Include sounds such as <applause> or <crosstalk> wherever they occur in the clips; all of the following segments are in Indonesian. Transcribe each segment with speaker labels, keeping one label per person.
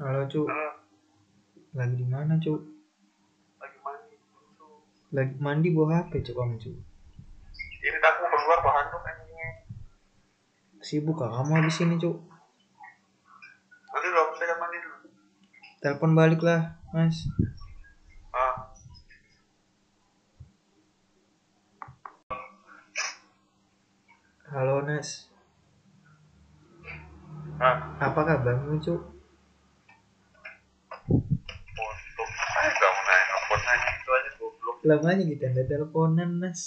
Speaker 1: Halo, Cuk.
Speaker 2: Nah,
Speaker 1: Lagi di mana, Cuk?
Speaker 2: lagi mandi gitu. busuk.
Speaker 1: Lagi mandi bawa HP, Cuk, kamu, Cuk.
Speaker 2: Ini aku keluar kan, bawa handuk anjingnya.
Speaker 1: Sibuk kah kamu habis ini, Cuk?
Speaker 2: Nanti dulu saya akan mandi dulu.
Speaker 1: Telepon balik lah, Mas.
Speaker 2: Ah.
Speaker 1: Halo, Nas.
Speaker 2: Ah.
Speaker 1: Apa kabarmu, Cuk?
Speaker 2: Untuk saya kamu nanya apa ya, nanya itu gitu aja goblok.
Speaker 1: Lamanya kita nggak teleponan, Nas.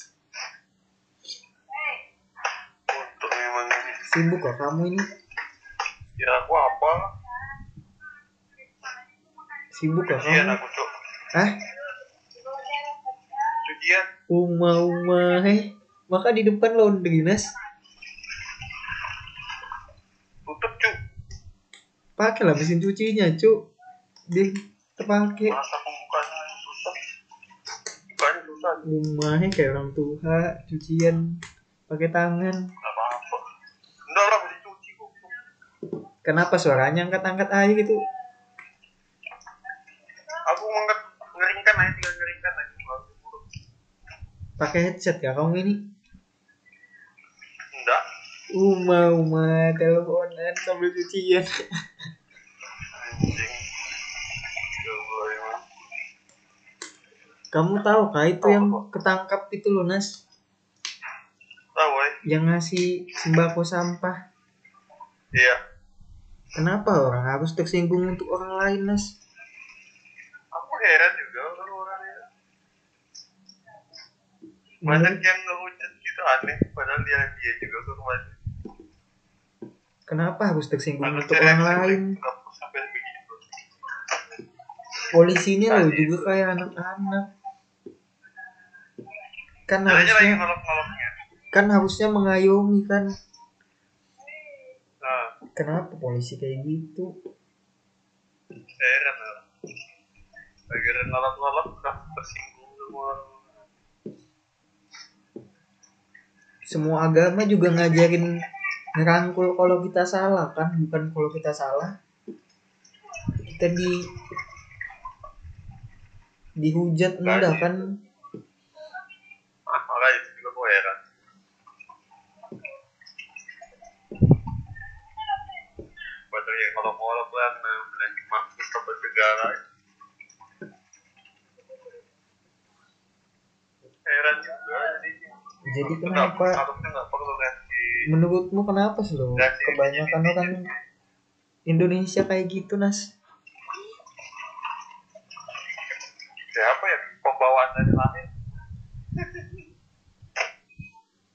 Speaker 2: Untuk memang ini.
Speaker 1: Sibuk kah kamu ini?
Speaker 2: Ya aku apa?
Speaker 1: Sibuk kah
Speaker 2: Cucian
Speaker 1: kamu?
Speaker 2: aku cok.
Speaker 1: Hah?
Speaker 2: Cucian.
Speaker 1: Uma, uma, heh. Maka di depan laundry, Nas.
Speaker 2: Tutup cuk.
Speaker 1: Pakailah mesin cucinya, Cuk. Dia terpakai.
Speaker 2: Masa pembukanya susah. Bukanya susah.
Speaker 1: Uma, heh, kayak orang tua. Cucian pakai tangan.
Speaker 2: Gak apa-apa. Enggak lah mesti cuci goblok.
Speaker 1: Kenapa suaranya angkat-angkat air gitu? itu?
Speaker 2: Aku mengangkat ngeringkan aja tinggal ngeringkan aja. Baru diburuk.
Speaker 1: Pakai headset ya kamu ini?
Speaker 2: Enggak.
Speaker 1: Uma, Uma, teleponan sambil cucian.
Speaker 2: Anjing. Goblok emang.
Speaker 1: <laughs> Kamu tahu kah itu yang ketangkap itu loh, Nas?
Speaker 2: Tahu eh?
Speaker 1: Yang ngasih sembako sampah.
Speaker 2: Iya.
Speaker 1: Kenapa orang harus tersinggung untuk orang lain, Nas?
Speaker 2: Aku heran juga orang-orang yang banyak
Speaker 1: Menurut-
Speaker 2: yang ngehujat gitu aneh padahal dia dia juga tuh kemarin
Speaker 1: Kenapa harus tersinggung
Speaker 2: Manusia
Speaker 1: untuk orang
Speaker 2: yang
Speaker 1: lain?
Speaker 2: nggak perlu sampai begitu
Speaker 1: Polisinya loh
Speaker 2: Tadi
Speaker 1: juga kayak anak-anak. Kan
Speaker 2: caranya lagi
Speaker 1: harusnya,
Speaker 2: ngolok-ngoloknya
Speaker 1: kan harusnya mengayomi kan.
Speaker 2: nah
Speaker 1: Kenapa polisi kayak gitu?
Speaker 2: heran lah bagian ngolok-ngolok udah tersinggung semua orang.
Speaker 1: semua agama juga ngajarin ngerangkul kalau kita salah kan bukan kalau kita salah kita di dihujat enggak kan
Speaker 2: ah makanya itu juga gue heran padahal yang ngolok-ngolok lah nah, melanjut maksud sampai negara heran juga jadi
Speaker 1: jadi
Speaker 2: Nggak-
Speaker 1: kenapa
Speaker 2: harusnya nggak perlu ganti
Speaker 1: menurutmu kenapa sih lo kebanyakan orang Indonesia kayak gitu nas
Speaker 2: ya apa ya pembawaan dari lahir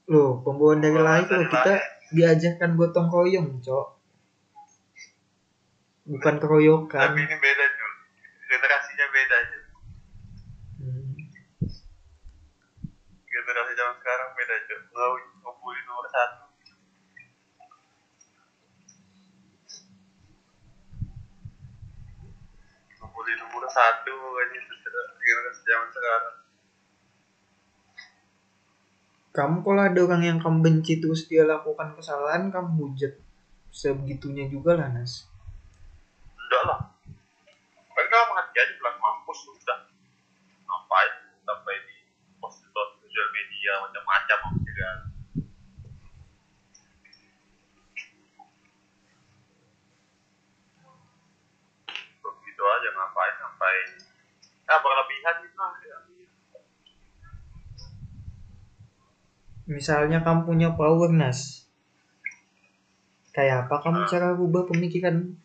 Speaker 1: lo pembawaan dari lahir lo kita diajarkan gotong royong cok bukan keroyokan
Speaker 2: tapi ini beda Jul generasinya beda Jul
Speaker 1: Hmm.
Speaker 2: generasi zaman sekarang beda Jul nggak ngebully nomor satu ngebully nomor satu pokoknya itu sudah generasi zaman sekarang
Speaker 1: kamu kalau ada orang yang kamu benci terus dia lakukan kesalahan kamu hujat sebegitunya juga lah Nas
Speaker 2: enggak lah mereka kalau mengerti aja bilang mampus sudah ngapain sampai di post di sosial media macam-macam ya kan? apa segala begitu aja ngapain sampai ya berlebihan gitu lah ya.
Speaker 1: misalnya kamu punya power Nas kayak apa kamu cara rubah pemikiran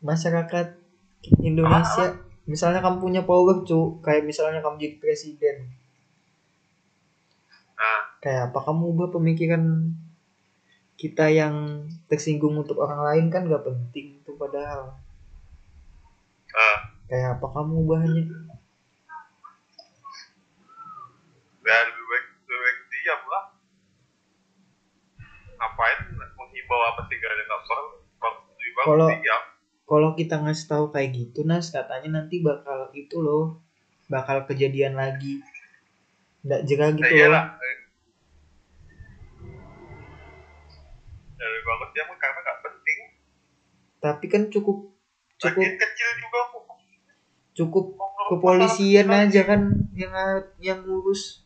Speaker 1: masyarakat Indonesia misalnya kamu punya power cu kayak misalnya kamu jadi presiden
Speaker 2: nah
Speaker 1: kayak apa kamu ubah pemikiran kita yang tersinggung untuk orang lain kan gak penting tuh padahal
Speaker 2: eh,
Speaker 1: kayak apa kamu ubahnya
Speaker 2: ya lebih baik lebih baik diam lah ngapain menghimbau apa segala nggak perlu lebih baik
Speaker 1: Kalau-
Speaker 2: diam
Speaker 1: kalau kita ngasih tahu kayak gitu nas katanya nanti bakal itu loh bakal kejadian lagi nggak jerah gitu
Speaker 2: ya
Speaker 1: loh
Speaker 2: iyalah eh. Ya, lebih bagus dia mah karena nggak penting
Speaker 1: tapi kan cukup cukup
Speaker 2: Lagian kecil juga kok.
Speaker 1: cukup
Speaker 2: Ngomong
Speaker 1: kepolisian
Speaker 2: masalah
Speaker 1: aja kan yang yang ngurus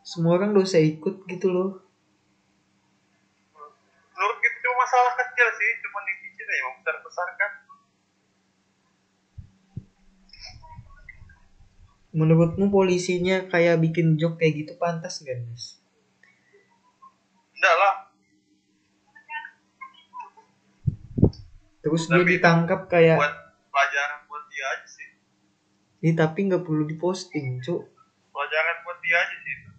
Speaker 1: semua orang dosa ikut gitu loh
Speaker 2: Menurut kita cuma masalah kecil sih, cuma dikicil ya, mau besar besar kan.
Speaker 1: menurutmu polisinya kayak bikin joke kayak gitu pantas gak mas
Speaker 2: Enggak lah,
Speaker 1: terus
Speaker 2: Tapi-
Speaker 1: dia ditangkap kayak
Speaker 2: buat pelajaran buat dia aja sih,
Speaker 1: Ih, tapi nggak perlu diposting cuk
Speaker 2: pelajaran buat dia aja sih. itu.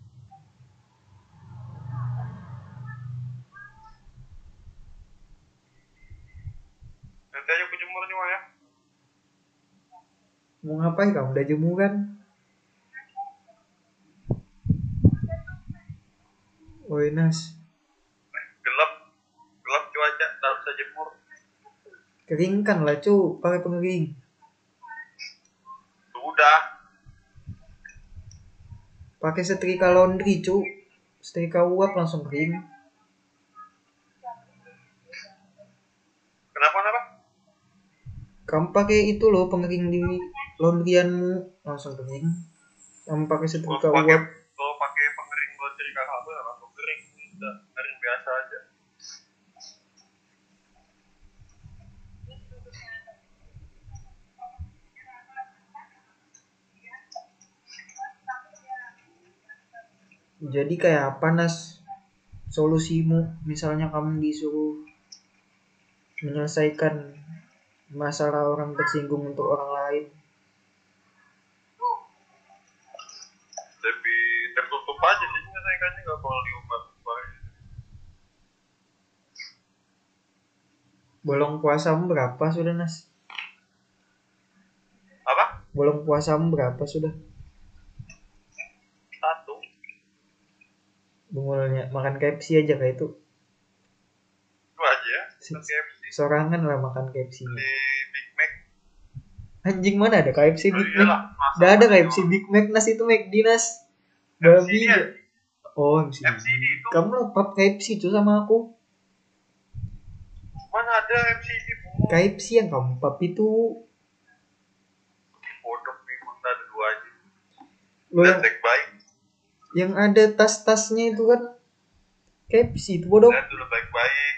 Speaker 2: Nanti aja aku jemur nih, Wak, ya.
Speaker 1: mau ngapain kamu udah kan? jemuran Oi Nas,
Speaker 2: Gelap, gelap cuaca, nggak usah jemur.
Speaker 1: keringkan lah cu, pakai pengering.
Speaker 2: Udah,
Speaker 1: Pakai setrika laundry cu, setrika uap langsung kering.
Speaker 2: kenapa kenapa?
Speaker 1: Kamu pakai itu loh pengering di laundryanmu langsung kering. Kamu pakai setrika
Speaker 2: Kalau pakai
Speaker 1: uap
Speaker 2: kalau pakai pengering buat jadi kakak gue apa pengering udah pengering biasa aja
Speaker 1: Jadi kayak apa Nas solusimu? Misalnya kamu disuruh menyelesaikan masalah orang tersinggung untuk orang lain.
Speaker 2: lebih tertutup aja sih menyelesaikannya nggak perlu diubah ubah
Speaker 1: Bolong puasamu berapa sudah Nas?
Speaker 2: apa
Speaker 1: Bolong puasamu berapa sudah?
Speaker 2: satu
Speaker 1: Bungulnya makan KFC aja kayak itu.
Speaker 2: itu aja ya
Speaker 1: Se-
Speaker 2: Terus KFC
Speaker 1: Sorangan lah makan KFC. -nya.
Speaker 2: di Big Mac
Speaker 1: Anjing mana ada KFC
Speaker 2: Oh
Speaker 1: Big
Speaker 2: iyalah,
Speaker 1: Mac?
Speaker 2: masa
Speaker 1: Gak ada
Speaker 2: mau
Speaker 1: KFC
Speaker 2: diubah?
Speaker 1: Big Mac Nas itu McD Nas.
Speaker 2: MCD
Speaker 1: Babi.
Speaker 2: ya?
Speaker 1: gak? Oh, MCD.
Speaker 2: MCD itu.
Speaker 1: Kamu lupa KFC itu sama aku.
Speaker 2: mana ada MCD bunga
Speaker 1: KFC yang kamu pap itu
Speaker 2: bodoh memang nggak ada dua aja
Speaker 1: lo
Speaker 2: dan
Speaker 1: yang,
Speaker 2: baik baik
Speaker 1: yang ada tas-tasnya itu kan KFC itu bodoh
Speaker 2: dan dulu baik baik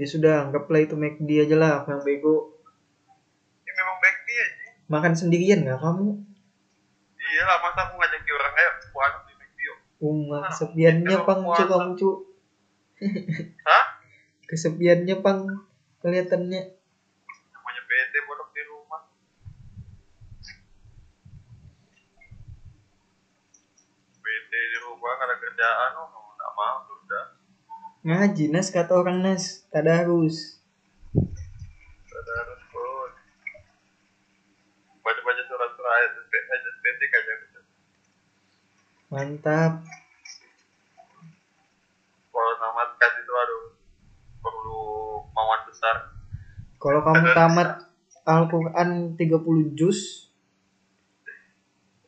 Speaker 1: ya sudah anggaplah itu McD aja lah aku yang bego
Speaker 2: ini memang baik dia aja
Speaker 1: makan sendirian nggak kamu
Speaker 2: iyalah Iya masa aku ngajak dia orang ayo puasa di Mac dia
Speaker 1: Uma
Speaker 2: Ah,
Speaker 1: kesepiannya
Speaker 2: itu
Speaker 1: pang cu
Speaker 2: puasa.
Speaker 1: kamu cu
Speaker 2: <laughs> hah
Speaker 1: kesepiannya pang kelihatannya
Speaker 2: namanya bete bodoh di rumah bete di rumah gak ada kerjaan oh nggak mau udah
Speaker 1: ngaji nas kata orang nas tadarus
Speaker 2: ada harus pun baca baca surat surat ayat bete aja bete aja gitu.
Speaker 1: mantap
Speaker 2: kalau tamat kan itu aduh perlu kemauan besar
Speaker 1: kalau kamu
Speaker 2: Tadarus.
Speaker 1: tamat Al-Quran 30 juz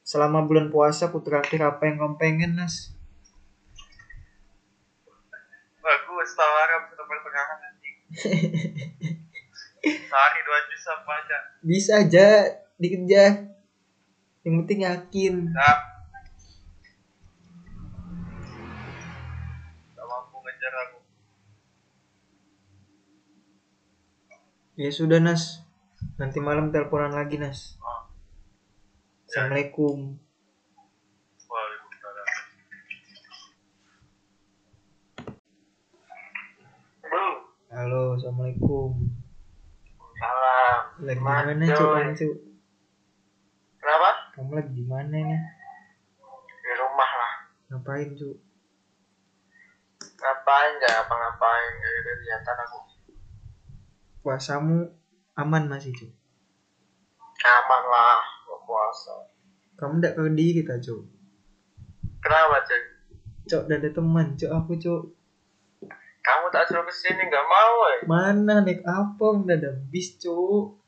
Speaker 1: selama bulan puasa aku terakhir apa yang kamu pengen nas
Speaker 2: bagus tawaran sudah pertengahan anjing sehari dua juz apa aja
Speaker 1: bisa aja dikejar yang penting yakin
Speaker 2: Nah. Gak mampu ngejar aku.
Speaker 1: ya sudah nas nanti malam teleponan lagi nas
Speaker 2: Ah.
Speaker 1: assalamualaikum
Speaker 2: Waalaikumsalam. Bro,
Speaker 1: halo assalamualaikum
Speaker 2: salam.
Speaker 1: lagi di
Speaker 2: Gimana,
Speaker 1: mana cuk
Speaker 2: coy?
Speaker 1: kamu Cuk?
Speaker 2: Kenapa?
Speaker 1: kamu lagi di mana nih
Speaker 2: Di rumah lah.
Speaker 1: ngapain cuk
Speaker 2: Ngapain gak apa-ngapain. Gak ada kegiatan aku.
Speaker 1: puasamu aman masih cuk
Speaker 2: Aman lah. Gak puasa.
Speaker 1: kamu ndak tahu diri kita cuk
Speaker 2: Kenapa cuy?
Speaker 1: cuk udah ada teman cuk aku cuk
Speaker 2: Kamu tak suruh kesini gak mau ya?
Speaker 1: mana naik apa udah ada bis cuk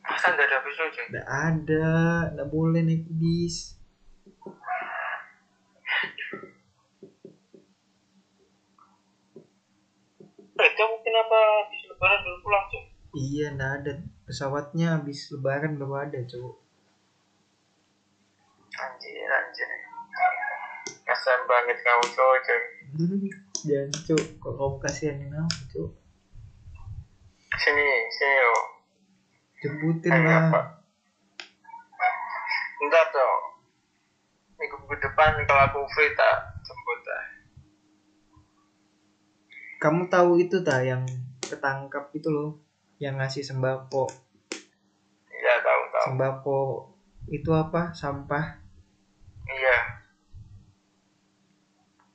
Speaker 2: Masa gak ada besok cuy?
Speaker 1: ndak ada ndak boleh naik bis
Speaker 2: Eh kamu kenapa apa habis lebaran baru pulang cuy?
Speaker 1: Iya, nggak ada. Pesawatnya habis lebaran baru ada, <laughs> cowok.
Speaker 2: Anjir, anjir. Kasian banget kamu cowok cuy.
Speaker 1: Dan, cowok, kok kamu kasihanin aku, cowok?
Speaker 2: Sini, sini oh. lo.
Speaker 1: Jemputin
Speaker 2: Ayo, Pak.
Speaker 1: lah.
Speaker 2: Ntar dong. Minggu depan kalau aku free tak jemput tak.
Speaker 1: Kamu tahu itu tak yang ketangkap itu loh, yang ngasih sembako.
Speaker 2: Iya tahu tahu.
Speaker 1: Sembako itu apa? Sampah.
Speaker 2: Iya.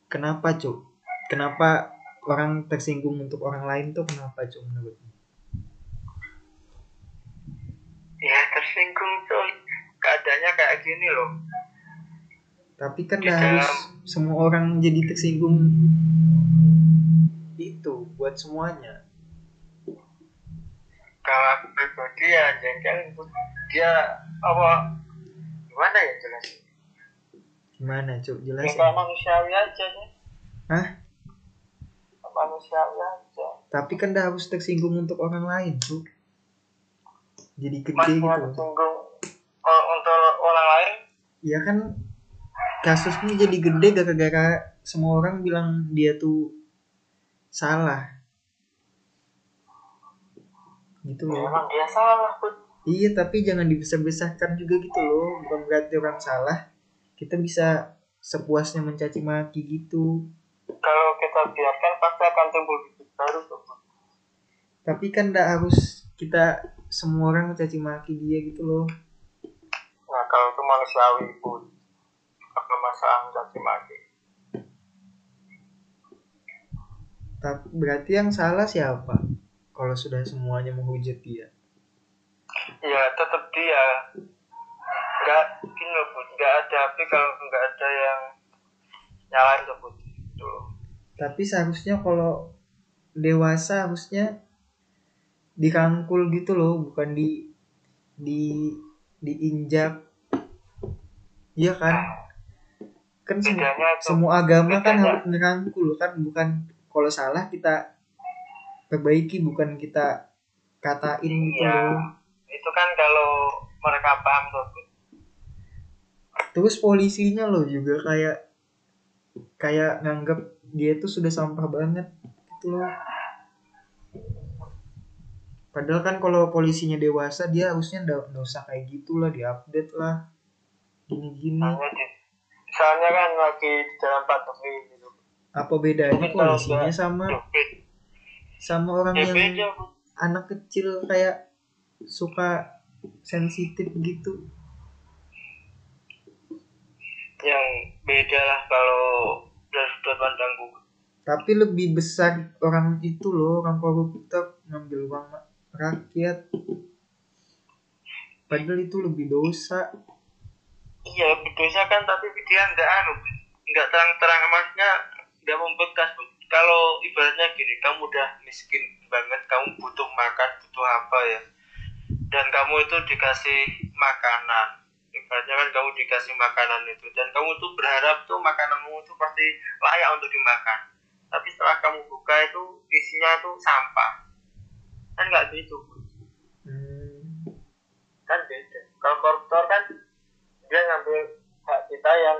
Speaker 1: Kenapa, cowok? Kenapa orang tersinggung untuk orang lain tuh kenapa, cowok menurutmu?
Speaker 2: Ya tersinggung coy. Keadaannya kayak gini loh.
Speaker 1: Tapi kan
Speaker 2: Di
Speaker 1: nggak
Speaker 2: dalam-
Speaker 1: harus semua orang jadi tersinggung itu buat semuanya.
Speaker 2: Kalau aku pribadi ya jengkel dia apa gimana ya jelas.
Speaker 1: Gimana, cowok? Jelasin.
Speaker 2: Enggak manusiawi aja ya.
Speaker 1: Hah?
Speaker 2: Manusiawi aja.
Speaker 1: Tapi kan dah harus tersinggung untuk orang lain, Cuk. Jadi
Speaker 2: Mas
Speaker 1: gede
Speaker 2: mau
Speaker 1: gitu.
Speaker 2: tersinggung kalau untuk orang lain
Speaker 1: Ya kan kasusnya jadi gede gara-gara semua orang bilang dia tuh salah. Gitu
Speaker 2: ya
Speaker 1: loh.
Speaker 2: emang dia salah pun.
Speaker 1: Iya, tapi jangan dibesar-besarkan juga gitu loh. Bukan berarti orang salah. Kita bisa sepuasnya mencaci maki gitu.
Speaker 2: Kalau kita biarkan pasti akan tumbuh bibit baru tuh. Bud.
Speaker 1: Tapi kan ndak harus kita semua orang mencaci maki dia gitu loh.
Speaker 2: Nah kalau itu manusiawi pun apa masalah mencaci maki.
Speaker 1: Tapi berarti yang salah siapa? Kalau sudah semuanya menghujat dia.
Speaker 2: ya tetap dia nggak gini loh bud nggak ada api kalau nggak ada yang nyalain tuh bud Gitu loh.
Speaker 1: Tapi seharusnya kalau dewasa harusnya dirangkul gitu loh, bukan di di diinjak. Iya kan? Kan semua,
Speaker 2: bedanya tuh
Speaker 1: semua agama kan
Speaker 2: bedanya-
Speaker 1: harus merangkul kan, bukan kalau salah kita perbaiki, bukan kita katain gitu
Speaker 2: Iya.
Speaker 1: loh.
Speaker 2: itu kan kalau mereka paham tuh bud
Speaker 1: terus polisinya loh juga kayak kayak nganggap dia tuh sudah sampah banget gitu loh padahal kan kalau polisinya dewasa dia harusnya nda nggak usah kayak gitulah diupdate lah gini gini
Speaker 2: soalnya di soalnya kan lagi di dalam pandemi gitu
Speaker 1: apa bedanya polisinya sama
Speaker 2: Ya, bud.
Speaker 1: sama orang
Speaker 2: ya
Speaker 1: yang
Speaker 2: beda bud
Speaker 1: anak kecil kayak suka sensitif gitu
Speaker 2: yang beda lah kalau dari sudut pandangku
Speaker 1: tapi lebih besar orang itu loh orang koruptor ngambil uang ma- rakyat padahal itu lebih dosa
Speaker 2: iya bedanya kan tapi dia nggak anu Bud. nggak terang-terang emasnya nggak membekas Bud. kalau ibaratnya gini kamu udah miskin banget kamu butuh makan butuh apa ya dan kamu itu dikasih makanan ibaratnya kan kamu dikasih makanan itu dan kamu tuh berharap tuh makananmu itu pasti layak untuk dimakan tapi setelah kamu buka itu isinya tuh sampah kan nggak gitu Bud
Speaker 1: hmm,
Speaker 2: kan beda kalau koruptor kan dia ngambil hak kita yang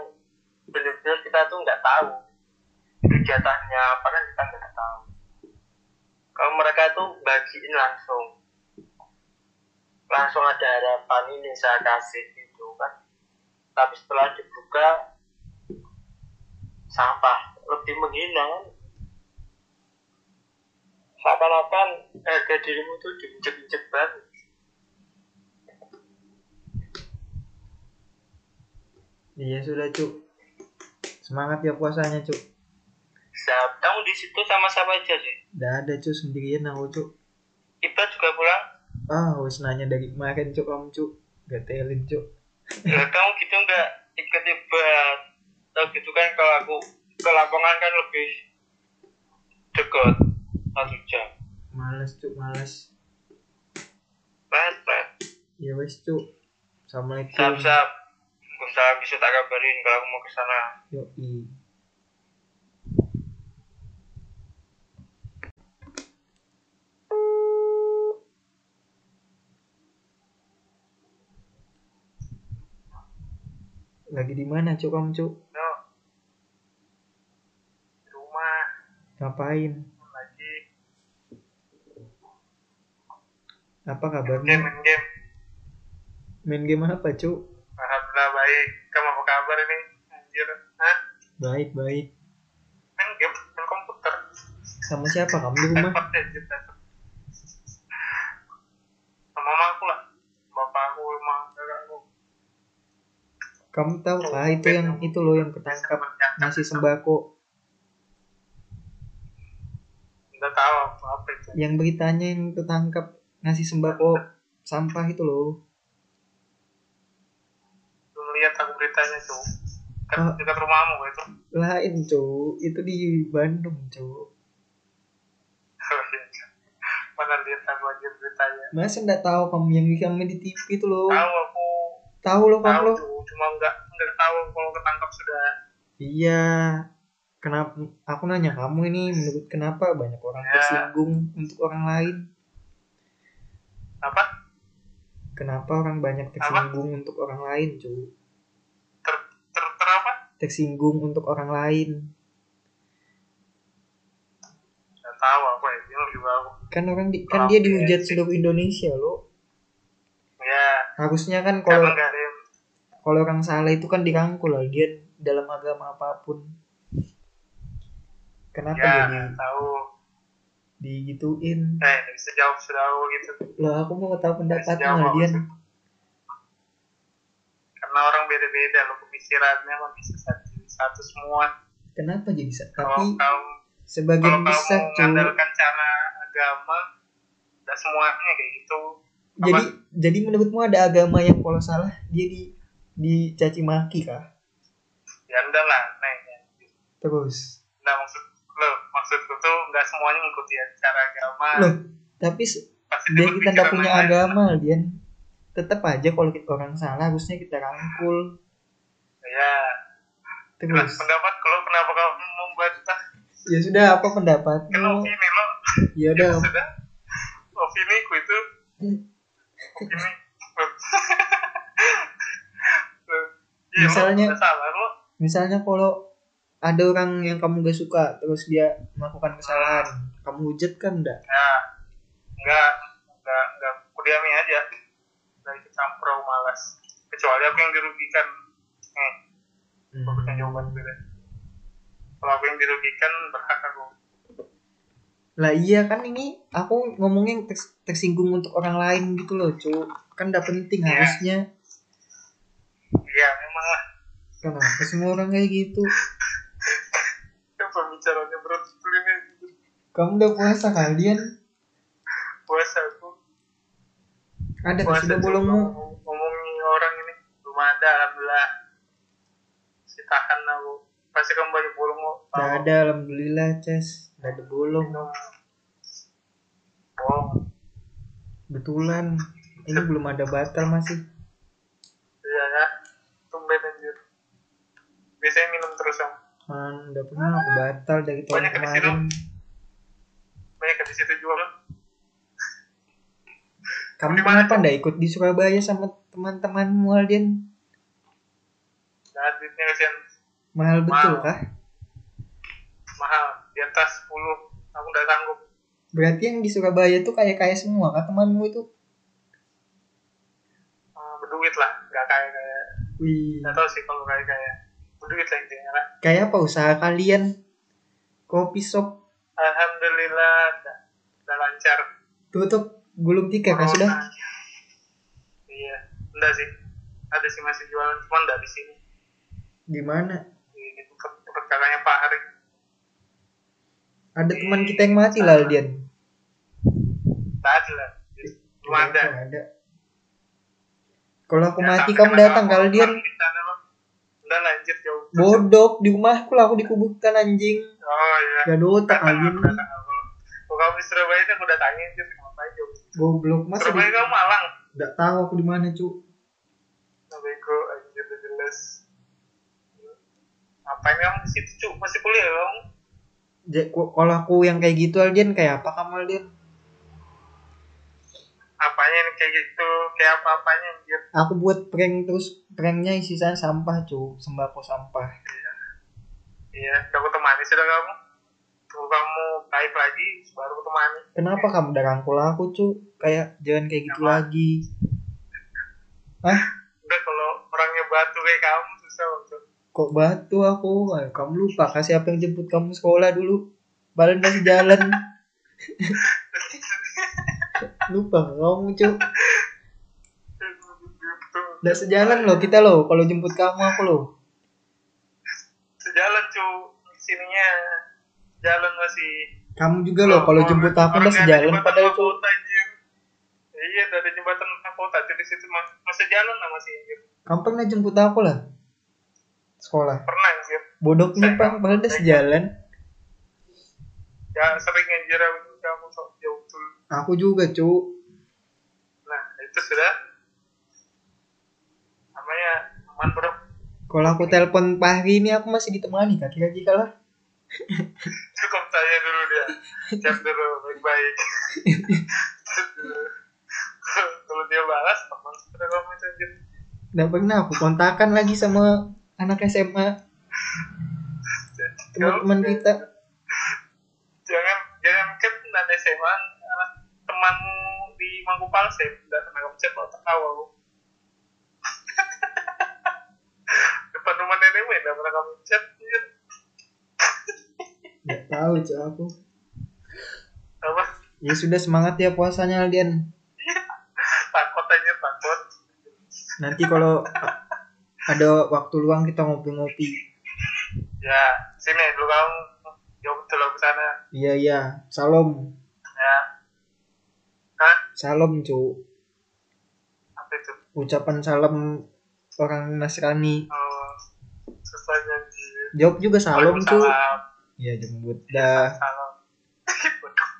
Speaker 2: benar-benar kita tuh nggak tahu itu jatahnya apa kan kita nggak tahu kalau mereka tuh bagiin langsung langsung ada harapan ini saya kasih gitu kan tapi setelah dibuka sampah lebih menghina kan seakan-akan harga dirimu tuh diinjek-injek banget
Speaker 1: iya sudah cuk semangat ya puasanya cuk
Speaker 2: Siap. Kamu di situ sama siapa aja sih?
Speaker 1: nggak ada cuk sendirian aku cuk
Speaker 2: Iba juga pulang.
Speaker 1: ah wes nanya dari kemarin cuk kamu cuk gatelin cuk
Speaker 2: Lah kamu gitu nggak ikut Iba? Tahu gitu kan kalau aku ke lapangan kan lebih dekat satu jam.
Speaker 1: males cuk males
Speaker 2: Mas, mas,
Speaker 1: ya wes cuk assalamualaikum
Speaker 2: siap siap. Gue salam bisa tak kabarin kalau aku mau ke sana.
Speaker 1: Yoi. lagi di mana cuk kamu cuk
Speaker 2: no Di rumah
Speaker 1: ngapain
Speaker 2: lagi
Speaker 1: apa
Speaker 2: game
Speaker 1: kabarnya
Speaker 2: main game
Speaker 1: main game apa cuk
Speaker 2: alhamdulillah baik kamu apa kabar ini anjir Hah?
Speaker 1: baik baik
Speaker 2: main game main komputer
Speaker 1: sama siapa kamu di rumah
Speaker 2: Laptop, anjir, laptop. sama mama aku lah bapak aku mama kakakku
Speaker 1: kamu tahu ah itu yang itu loh yang ketangkap ngasih sembako
Speaker 2: nggak tahu apa, apa itu
Speaker 1: yang beritanya yang ketangkap ngasih sembako sampah itu loh
Speaker 2: belum lihat aku beritanya tuh dekat,
Speaker 1: Ah.
Speaker 2: dekat rumahmu kok itu <laughs>
Speaker 1: lain cuk itu di Bandung cuk
Speaker 2: mana lihat aku aja beritanya
Speaker 1: masa nggak tahu kamu yang kamu di TV itu loh
Speaker 2: tahu aku
Speaker 1: tahu loh kamu
Speaker 2: tahu
Speaker 1: loh
Speaker 2: tuh cuma nggak nggak tahu kalau ketangkap sudah
Speaker 1: Iya. Kenapa aku nanya kamu ini menurut kenapa banyak orang
Speaker 2: Ya.
Speaker 1: tersinggung untuk orang lain?
Speaker 2: apa
Speaker 1: Kenapa orang banyak tersinggung untuk orang lain, cuy?
Speaker 2: ter ter, ter apa
Speaker 1: Tersinggung untuk orang lain.
Speaker 2: nggak tahu aku ya bingung juga aku
Speaker 1: Kan orang di, kan dia
Speaker 2: Oke.
Speaker 1: dihujat seluruh Indonesia loh.
Speaker 2: ya
Speaker 1: Harusnya kan kalau
Speaker 2: karena nggak ada yang
Speaker 1: kalau orang salah itu kan dirangkul lah dia dalam agama apapun. Kenapa
Speaker 2: ya
Speaker 1: jadi
Speaker 2: nggak tahu
Speaker 1: digituin?
Speaker 2: eh nggak bisa jawab sudah aku gitu
Speaker 1: Loh, aku mau tahu
Speaker 2: Nggak bisa
Speaker 1: pendapatmu
Speaker 2: jawab
Speaker 1: lah,
Speaker 2: aku
Speaker 1: Dian.
Speaker 2: tuh. karena orang beda-beda loh pemikirannya mah bisa satu, satu semua
Speaker 1: Kenapa jadi sa-
Speaker 2: kalau
Speaker 1: tapi
Speaker 2: kamu kalau
Speaker 1: sebagian
Speaker 2: kamu
Speaker 1: besar cuy
Speaker 2: mengandalkan cara agama nggak semuanya kayak gitu
Speaker 1: jadi jadi menurutmu ada agama yang kalau salah dia di dicaci maki kah
Speaker 2: ya enggak lah nanya
Speaker 1: terus
Speaker 2: nah maksud lo maksudku tuh nggak semuanya ngikuti cara agama
Speaker 1: loh tapi se-
Speaker 2: pasti
Speaker 1: dia
Speaker 2: dia
Speaker 1: kita nggak
Speaker 2: berpikiran
Speaker 1: punya
Speaker 2: Ah. lain.
Speaker 1: agama Dian tetap aja kalau kita orang salah harusnya kita rangkul
Speaker 2: ya jelas
Speaker 1: terus
Speaker 2: pendapat kalau kenapa kamu membaca
Speaker 1: ya sudah apa
Speaker 2: kan
Speaker 1: pendapatmu
Speaker 2: opini lo
Speaker 1: ya
Speaker 2: ya
Speaker 1: udah
Speaker 2: sudah opini ku itu
Speaker 1: Hmm.
Speaker 2: opini Loh, iya, lo
Speaker 1: Misalnya-
Speaker 2: nggak salah lo
Speaker 1: misalnya kalau ada orang yang kamu gak suka terus dia melakukan kesalahan kamu hujat kan enggak
Speaker 2: ya nggak nggak nggak kudiami aja dari campur aku malas kecuali aku yang dirugikan eh aku punya jawaban beda kalau aku yang dirugikan berhak aku
Speaker 1: lah iya kan ini aku ngomongin ters- tersinggung untuk orang lain gitu loh cu kan enggak penting
Speaker 2: Iya.
Speaker 1: harusnya
Speaker 2: iya memang lah
Speaker 1: Kenapa semua orang kayak gitu?
Speaker 2: ya, pembicaraannya berat sekali ini
Speaker 1: Kamu udah puasa kalian?
Speaker 2: puasa aku
Speaker 1: Ada nggak
Speaker 2: puasa
Speaker 1: sudah
Speaker 2: tuh,
Speaker 1: bolongmu?
Speaker 2: ngomong- ngomongin orang ini belum ada alhamdulillah si tahan aku pasti kamu banyak bolong kok
Speaker 1: Nggak ada, alhamdulillah, Ces. Nggak ada bolong.
Speaker 2: bolong
Speaker 1: Betulan. Ini belum ada batal masih.
Speaker 2: iya ya tumben anjir biasanya minum terus kamu
Speaker 1: Man, udah pernah aku batal dari tahun
Speaker 2: Banyak habis
Speaker 1: kemarin.
Speaker 2: banyak di situ juga kan
Speaker 1: Kamu
Speaker 2: Di mana,
Speaker 1: kenapa nggak ikut di Surabaya sama teman-temanmu, Aldian?
Speaker 2: nah duitnya kasihan
Speaker 1: Mahal betul
Speaker 2: Mahal.
Speaker 1: kah?
Speaker 2: mahal di atas 10 aku nggak sanggup
Speaker 1: Berarti yang di Surabaya tuh kayak-kayak semua kah temanmu itu?
Speaker 2: Eh, berduit lah nggak kaya kaya
Speaker 1: Hmm. Wih,
Speaker 2: nggak tahu sih kalau kaya kaya berduit lah intinya lah
Speaker 1: kayak apa usaha kalian? Kopi shop
Speaker 2: alhamdulillah udah, udah lancar
Speaker 1: tutup gulung tiga kah sudah?
Speaker 2: Corona. iya enggak sih ada sih masih jualan cuma enggak di sini
Speaker 1: Gimana?
Speaker 2: di di tempat tempat kakaknya Pak Hari
Speaker 1: Ada teman kita yang mati lah, Aldian.
Speaker 2: enggak ada lah belum ada
Speaker 1: Nggak ada. Kalau aku
Speaker 2: Ya,
Speaker 1: mati
Speaker 2: tapi
Speaker 1: kamu
Speaker 2: kenapa
Speaker 1: datang
Speaker 2: aku
Speaker 1: kalau dia
Speaker 2: orang di sana, lo? enggak lanjut jauh
Speaker 1: bodok di rumahku lah aku dikuburkan anjing.
Speaker 2: oh iya
Speaker 1: Gak ada otak
Speaker 2: datang
Speaker 1: anjing.
Speaker 2: aku datang aku kalau kamu di Surabaya kan aku datangin sih ngapain jauh
Speaker 1: Goblok masa
Speaker 2: Surabaya
Speaker 1: di...
Speaker 2: kamu Malang
Speaker 1: Gak tahu aku di mana cu.
Speaker 2: Nah, bego anjir udah jelas ngapain kamu di situ cu masih kuliah kamu
Speaker 1: Ja- ku- Kalau aku yang kayak gitu Aldian kayak apa kamu Aldian?
Speaker 2: apanya yang kayak gitu kayak apa apanya anjir
Speaker 1: aku buat prank terus pranknya isinya sampah cu sembako sampah
Speaker 2: iya udah aku temani sudah kamu tunggu kamu baik lagi baru aku temani
Speaker 1: kenapa kamu udah rangkul aku cu kayak jangan kayak gitu
Speaker 2: Kenapa?
Speaker 1: lagi
Speaker 2: udah kalau orangnya batu kayak kamu susah untuk
Speaker 1: kok batu aku Ay, kamu lupa kasih apa yang jemput kamu sekolah dulu balen masih jalan lupa kamu cu udah sejalan loh kita loh kalau jemput kamu aku loh
Speaker 2: sejalan cu sininya jalan masih
Speaker 1: kamu juga loh kalau jemput aku udah sejalan padahal cu
Speaker 2: kota anjir iya dari jembatan kota jadi situ mas- masih jalan lah masih anjir
Speaker 1: kamu pernah jemput aku lah sekolah
Speaker 2: pernah anjir
Speaker 1: bodohnya pak padahal udah sejalan
Speaker 2: ya sering anjir aku kamu sok jauh dulu
Speaker 1: aku juga cu
Speaker 2: nah itu sudah namanya aman bro
Speaker 1: kalau aku telepon pagi ini aku masih ditemani kaki-kaki kalah
Speaker 2: cukup tanya dulu dia chat dulu baik-baik Chat dulu. kalau dia balas teman sudah kamu itu anjir
Speaker 1: Nggak pernah aku kontakan lagi sama anak SMA teman-teman kita
Speaker 2: jangan jangan kan ada SMA anak temanmu di Mangku Palsem nggak pernah kamu cek otak awal <laughs> depan rumah nenekmu nggak pernah kamu iya. cek anjir.
Speaker 1: nggak tahu cu aku
Speaker 2: apa
Speaker 1: ya sudah semangat ya puasanya Aldian
Speaker 2: takut aja takut
Speaker 1: nanti kalau a- ada waktu luang kita ngopi-ngopi
Speaker 2: ya sini dulu kamu jauh dulu ke sana
Speaker 1: iya iya salam
Speaker 2: ya hah
Speaker 1: salam cu
Speaker 2: apa itu
Speaker 1: ucapan salam orang Nasrani
Speaker 2: oh, susah janji
Speaker 1: jawab juga salam cu
Speaker 2: Waalaikumsalam.
Speaker 1: iya jemput dah
Speaker 2: salam Bodoh.